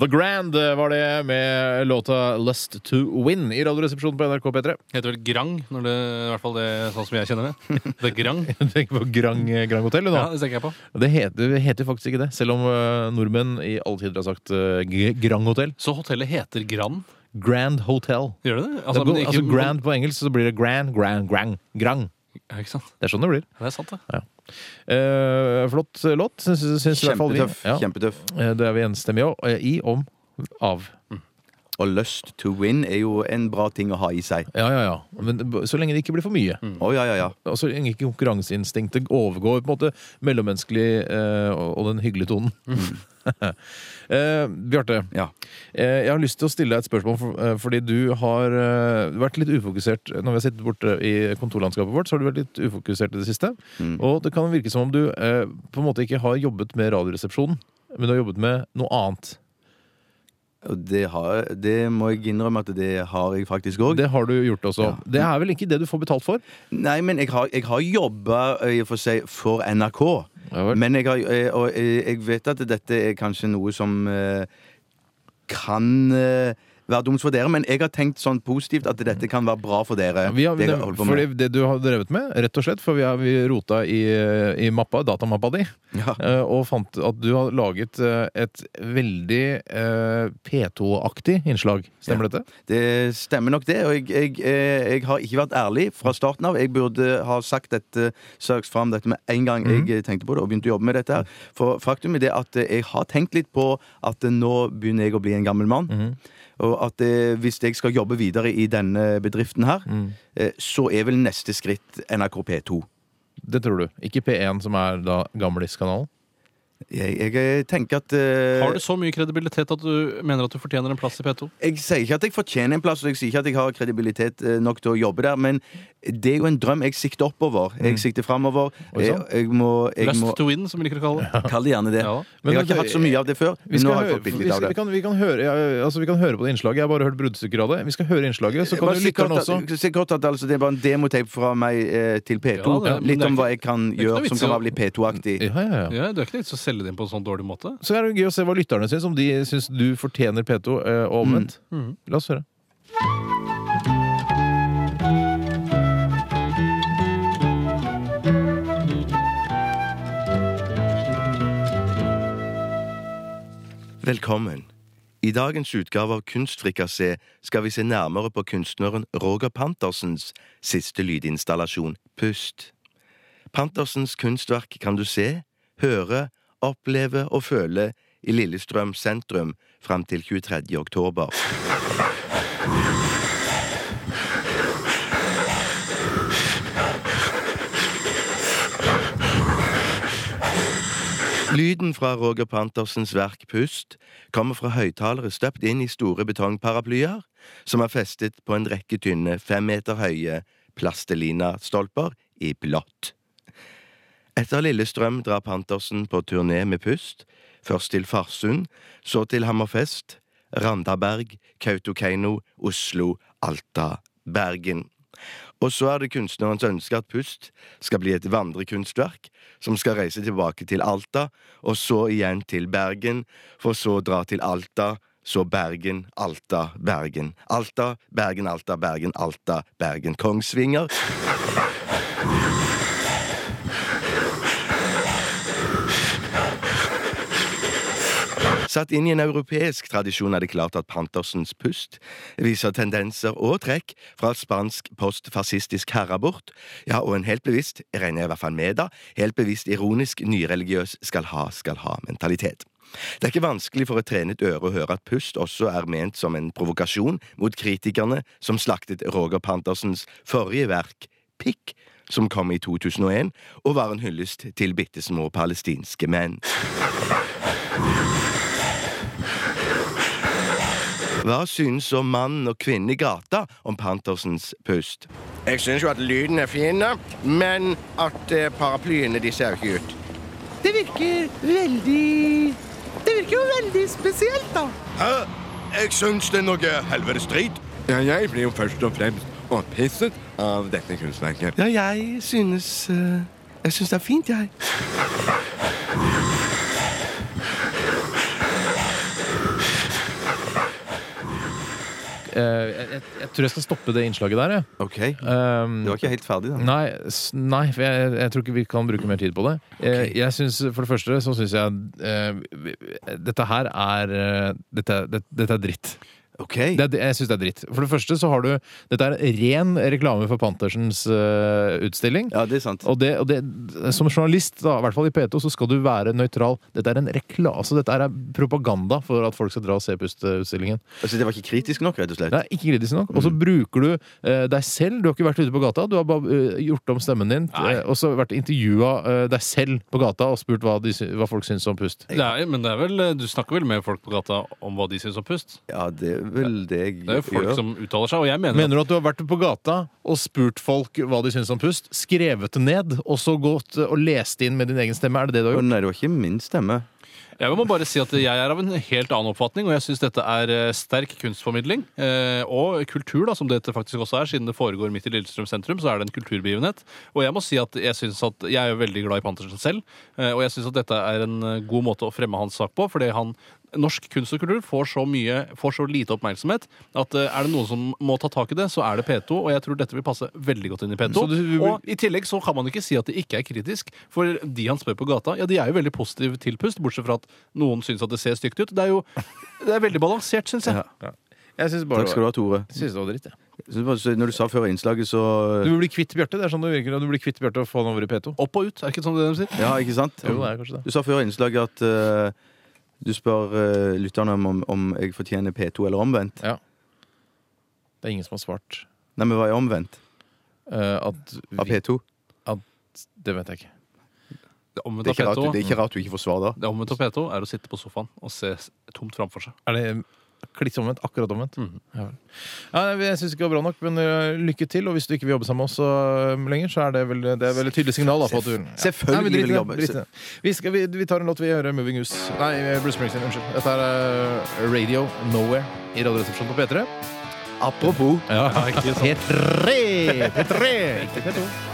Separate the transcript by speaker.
Speaker 1: The Grand eh, var det med låta Lust to Win i Radioresepsjonen på NRK P3.
Speaker 2: Heter vel Grang, når det, i hvert fall det, sånn som jeg kjenner det. The Grang.
Speaker 1: Du tenker på Grand, Grand Hotel, du nå?
Speaker 2: Ja, det tenker jeg på.
Speaker 1: Det heter, det heter jo faktisk ikke det, selv om eh, nordmenn i alle tider har sagt eh, G- Grand Hotel.
Speaker 2: Så hotellet heter Gran?
Speaker 1: Grand Hotel.
Speaker 2: Gjør det det?
Speaker 1: Altså,
Speaker 2: men
Speaker 1: altså Grand på engelsk, så blir det Grand, Grand, Grand, Grand.
Speaker 2: Ja, ikke sant?
Speaker 1: Det er sånn det blir.
Speaker 2: Det er sant, det.
Speaker 1: Eh, flott låt, syns, syns i hvert fall vi.
Speaker 3: Kjempetøff.
Speaker 1: Ja.
Speaker 3: kjempetøff.
Speaker 1: Eh, Det er vi enstemmige o- eh, i, om, av.
Speaker 3: Og Lust to Win er jo en bra ting å ha i seg.
Speaker 1: Ja, ja, ja. Men b- så lenge det ikke blir for mye.
Speaker 3: Å, ja, ja, ja.
Speaker 1: Og så lenge altså, ikke konkurranseinstinktet overgår på en måte mellommenneskelig eh, og og den hyggelige tonen.
Speaker 3: Mm.
Speaker 1: eh, Bjarte,
Speaker 3: ja.
Speaker 1: eh, jeg har lyst til å stille deg et spørsmål, for, eh, fordi du har eh, vært litt ufokusert når vi har sittet borte i kontorlandskapet vårt. så har du vært litt ufokusert i det siste.
Speaker 3: Mm.
Speaker 1: Og det kan virke som om du eh, på en måte ikke har jobbet med Radioresepsjonen, men du har jobbet med noe annet.
Speaker 3: Og det, har, det må jeg innrømme at det har jeg faktisk òg.
Speaker 1: Det har du gjort også. Det er vel ikke det du får betalt for?
Speaker 3: Nei, men jeg har, jeg har jobba eh, for, seg, for NRK.
Speaker 1: Ja vel.
Speaker 3: men jeg har, eh, og eh, jeg vet at dette er kanskje noe som eh, kan eh, være dumt for dere, men jeg har tenkt sånn positivt at dette kan være bra for dere.
Speaker 1: Vi har,
Speaker 3: det,
Speaker 1: det,
Speaker 3: jeg holder på
Speaker 1: fordi
Speaker 3: med.
Speaker 1: det du har drevet med, rett og slett, for vi, har, vi rota i, i mappa, datamappa di,
Speaker 3: Ja.
Speaker 1: eh, og fant at du har laget eh, et veldig eh, P2-aktig innslag. Stemmer dette?
Speaker 3: det stemmer nok, det. Og jeg, jeg, eh, jeg har ikke vært ærlig fra starten av. Jeg burde ha sagt dette, søkt fram dette med en gang
Speaker 2: Mhm.
Speaker 3: jeg eh, tenkte på det og begynte å jobbe med dette. her. For faktum er det at eh, jeg har tenkt litt på at eh, nå begynner jeg å bli en gammel mann.
Speaker 2: Mm.
Speaker 3: Og at eh, hvis jeg skal jobbe videre i denne bedriften her,
Speaker 1: Mm-hmm.
Speaker 3: eh, så er vel neste skritt NRK P2.
Speaker 1: Det tror du. Ikke P1, som er da gamliskanalen.
Speaker 3: Jeg, jeg eh, tenker at eh,
Speaker 2: Har du så mye kredibilitet at du mener at du fortjener en plass i P2?
Speaker 3: Jeg sier ikke at jeg fortjener en plass, og jeg sier ikke at jeg har kredibilitet eh, nok til å jobbe der, men det er jo en drøm jeg sikter oppover.
Speaker 2: Mm.
Speaker 3: Jeg sikter framover.
Speaker 1: Oi,
Speaker 3: Jeg,
Speaker 1: sann.
Speaker 3: jeg må, jeg
Speaker 2: Lust
Speaker 3: må
Speaker 2: to win, som vi liker å kalle det.
Speaker 3: Kall det gjerne det.
Speaker 2: sånn. Ja.
Speaker 1: Men
Speaker 3: Jeg har
Speaker 1: det-
Speaker 3: ikke hatt så mye av det før.
Speaker 1: Vi,
Speaker 3: men
Speaker 1: skal
Speaker 3: nå har jeg
Speaker 1: høre-
Speaker 3: fått
Speaker 1: vi,
Speaker 3: bitte litt av
Speaker 1: skal- vi,
Speaker 3: det.
Speaker 1: kan, vi, kan høre, ja, altså, vi kan høre på det innslaget. Jeg har bare hørt bruddstykker av det. Vi skal høre innslaget, så kan
Speaker 3: Eh, Bare
Speaker 1: jo
Speaker 3: si kort
Speaker 1: lytteren
Speaker 3: at-
Speaker 1: også
Speaker 3: si kort at altså, Det er bare en demotape fra meg eh, til P2.
Speaker 2: Ja, det er- men
Speaker 3: litt
Speaker 2: det er
Speaker 3: om
Speaker 2: ikke-
Speaker 3: hva jeg
Speaker 2: er
Speaker 3: kan
Speaker 2: ikke noe
Speaker 3: gjøre som
Speaker 2: vits i
Speaker 3: kan
Speaker 2: å-
Speaker 3: være litt P2-aktig.
Speaker 1: ja, ja, ja.
Speaker 2: Ja, du er ikke nødt til å selge det inn på en sånn dårlig måte.
Speaker 1: Så er det gøy å se hva lytterne syns, om de syns du fortjener P2 eh, og
Speaker 3: Mm.
Speaker 1: omvendt.
Speaker 2: Mhm.
Speaker 1: La oss høre.
Speaker 3: Velkommen. I dagens utgave av Kunstfrikassé skal vi se nærmere på kunstneren Roger Pantersens siste lydinstallasjon, Pust. Pantersens kunstverk kan du se, høre, oppleve og føle i Lillestrøm sentrum fram til 23. oktober. Lyden fra Roger Pantersens verk Pust kommer fra høyttalere støpt inn i store betongparaplyer, som er festet på en rekke tynne, fem meter høye plastelina-stolper i blått. Etter Lillestrøm drar Pantersen på turné med Pust, først til Farsund, så til Hammerfest, Randaberg, Kautokeino, Oslo, Alta, Bergen. Og så er det kunstnerens ønske at Pust skal bli et vandrekunstverk som skal reise tilbake til Alta, og så igjen til Bergen, for så å dra til Alta, så Bergen, Alta, Bergen. Alta, Bergen, Alta, Bergen, Alta, Bergen, Kongsvinger. Satt inn i en europeisk tradisjon er det klart at Pantersens pust viser tendenser og trekk fra et spansk postfascistisk herreabort, ja, og en helt bevisst, regner jeg i hvert fall med da, helt bevisst ironisk nyreligiøs skal ha, skal ha-mentalitet. Det er ikke vanskelig for et trenet øre å høre at pust også er ment som en provokasjon mot kritikerne som slaktet Roger Pantersens forrige verk, Pikk, som kom i 2001, og var en hyllest til bitte små palestinske menn. Hva synes så mann og kvinne i gata om Pantersens pust?
Speaker 4: Jeg syns jo at lyden er fin, men at eh, paraplyene de ser ikke ut.
Speaker 5: Det virker veldig Det virker jo veldig spesielt, da.
Speaker 4: Hæ? Jeg syns det er noe helvetes drit.
Speaker 6: Ja, jeg blir jo først og fremst opphisset av dette kunstverket.
Speaker 3: Ja, jeg synes eh, Jeg synes det er fint, jeg.
Speaker 1: eh, jeg, jeg, jeg tror jeg skal stoppe det innslaget der, jeg.
Speaker 3: Ok,
Speaker 1: Um,
Speaker 3: det var ikke helt ferdig da.
Speaker 1: Nei, s- nei for jeg, jeg tror ikke vi kan bruke mer tid på det. Eh,
Speaker 3: Ok.
Speaker 1: Jeg synes, For det første så syns jeg eh, vi- Dette her er eh, Dette, er- det, dette er dritt.
Speaker 3: Ok,
Speaker 1: Det, er- det- jeg syns det er dritt. For det første så har du Dette er ren reklame for Panthersens eh, utstilling.
Speaker 3: ja det er sant.
Speaker 1: Og, det, og det, som journalist, da, i hvert fall i P2, så skal du være nøytral. Dette er en rekla, altså dette er propaganda for at folk skal dra og se Pust-utstillingen.
Speaker 3: Altså, det var ikke kritisk nok, rett og slett.
Speaker 1: Det er ikke kritisk nok. Og så bruker du eh, deg selv. Du har ikke vært ute på gata. Du har bare eh, gjort om stemmen din, eh, og så vært intervjua eh, deg selv på gata og spurt hva, de, sy- hva folk syns om Pust.
Speaker 2: Det er, men det er vel, du snakker vel med folk på gata om hva de syns om pust?
Speaker 3: Ja, det er vel det jeg
Speaker 2: Det er jo folk
Speaker 3: gjør.
Speaker 2: som uttaler seg, og jeg mener,
Speaker 1: Mener du at du har vært på gata og spurt folk hva de syns om Pust? Skrevet det ned, og så gått eh, og lest inn med din egen stemme? Er det det du har
Speaker 3: Å,
Speaker 1: gjort?
Speaker 3: Nei, det var ikke min stemme.
Speaker 2: jeg må bare si at jeg er av en helt annen oppfatning, og jeg syns dette er eh, sterk kunstformidling. eh, Og kultur, da, som dette faktisk også er, siden det foregår midt i Lillestrøm sentrum, så er det en kulturbegivenhet. Og jeg må si at jeg synes at jeg er jo veldig glad i Pantersen selv, eh, og jeg syns at dette er en eh, god måte å fremme hans sak på, fordi han Norsk kunst og kultur får så, mye, får så lite oppmerksomhet at eh, er det noen som må ta tak i det, så er det P2. Og jeg tror dette vil passe veldig godt inn i P2.
Speaker 1: Så du-
Speaker 2: Og i tillegg så kan man ikke si at det ikke er kritisk, for de han spør på gata, ja, de er jo veldig positive til pust, bortsett fra at noen syns at det ser stygt ut. Det er jo det er veldig balansert, syns jeg.
Speaker 1: Jeg syns bare
Speaker 3: Takk skal du ha, Tore.
Speaker 1: Jeg synes det var dritt, jeg.
Speaker 3: Så det var- så Når du sa før innslaget, så
Speaker 1: Du blir kvitt Bjarte. Det er sånn det virker. Du blir kvitt Bjarte og få han over i P2.
Speaker 2: Opp og ut, er ikke sånn det de sier?
Speaker 3: Ja, ikke sant?
Speaker 1: Jo, det er kanskje det.
Speaker 3: Du sa før innslaget at eh, du spør eh, lytterne om- om, om jeg fortjener P2 eller omvendt.
Speaker 1: Det er ingen som har svart
Speaker 3: Nei, men hva er omvendt
Speaker 1: eh, at
Speaker 3: av
Speaker 1: vi,
Speaker 3: P2?
Speaker 1: Det vet jeg ikke.
Speaker 2: Det er omvendt
Speaker 3: Det er
Speaker 2: av
Speaker 3: ikke rart,
Speaker 2: P2.
Speaker 3: du- det er ikke rart du ikke får svar da.
Speaker 2: Det er omvendt av P2 er å sitte på sofaen og se s- tomt framfor seg.
Speaker 1: Er det kliss omvendt? Akkurat omvendt?
Speaker 3: Mm.
Speaker 1: Ja. vel. Ja, nei, jeg syns ikke det var bra nok, men eh, lykke til. Og hvis du ikke vil jobbe sammen med oss eh, lenger, så er det vel det er vel et tydelig signal. Da, på at du, ja.
Speaker 3: Selvfølgelig
Speaker 1: Nei, men drit i
Speaker 3: vil jeg
Speaker 1: det,
Speaker 3: jobbe.
Speaker 1: drit i det. Vi, skal, vi, vi tar en låt. Vi hører Moving Us. Nei, Bruce Springsteen. Unnskyld. Dette er eh, Radio Nowhere i Radioresepsjonen på P3.
Speaker 3: Apropos
Speaker 1: Ja, P3! P3! P2.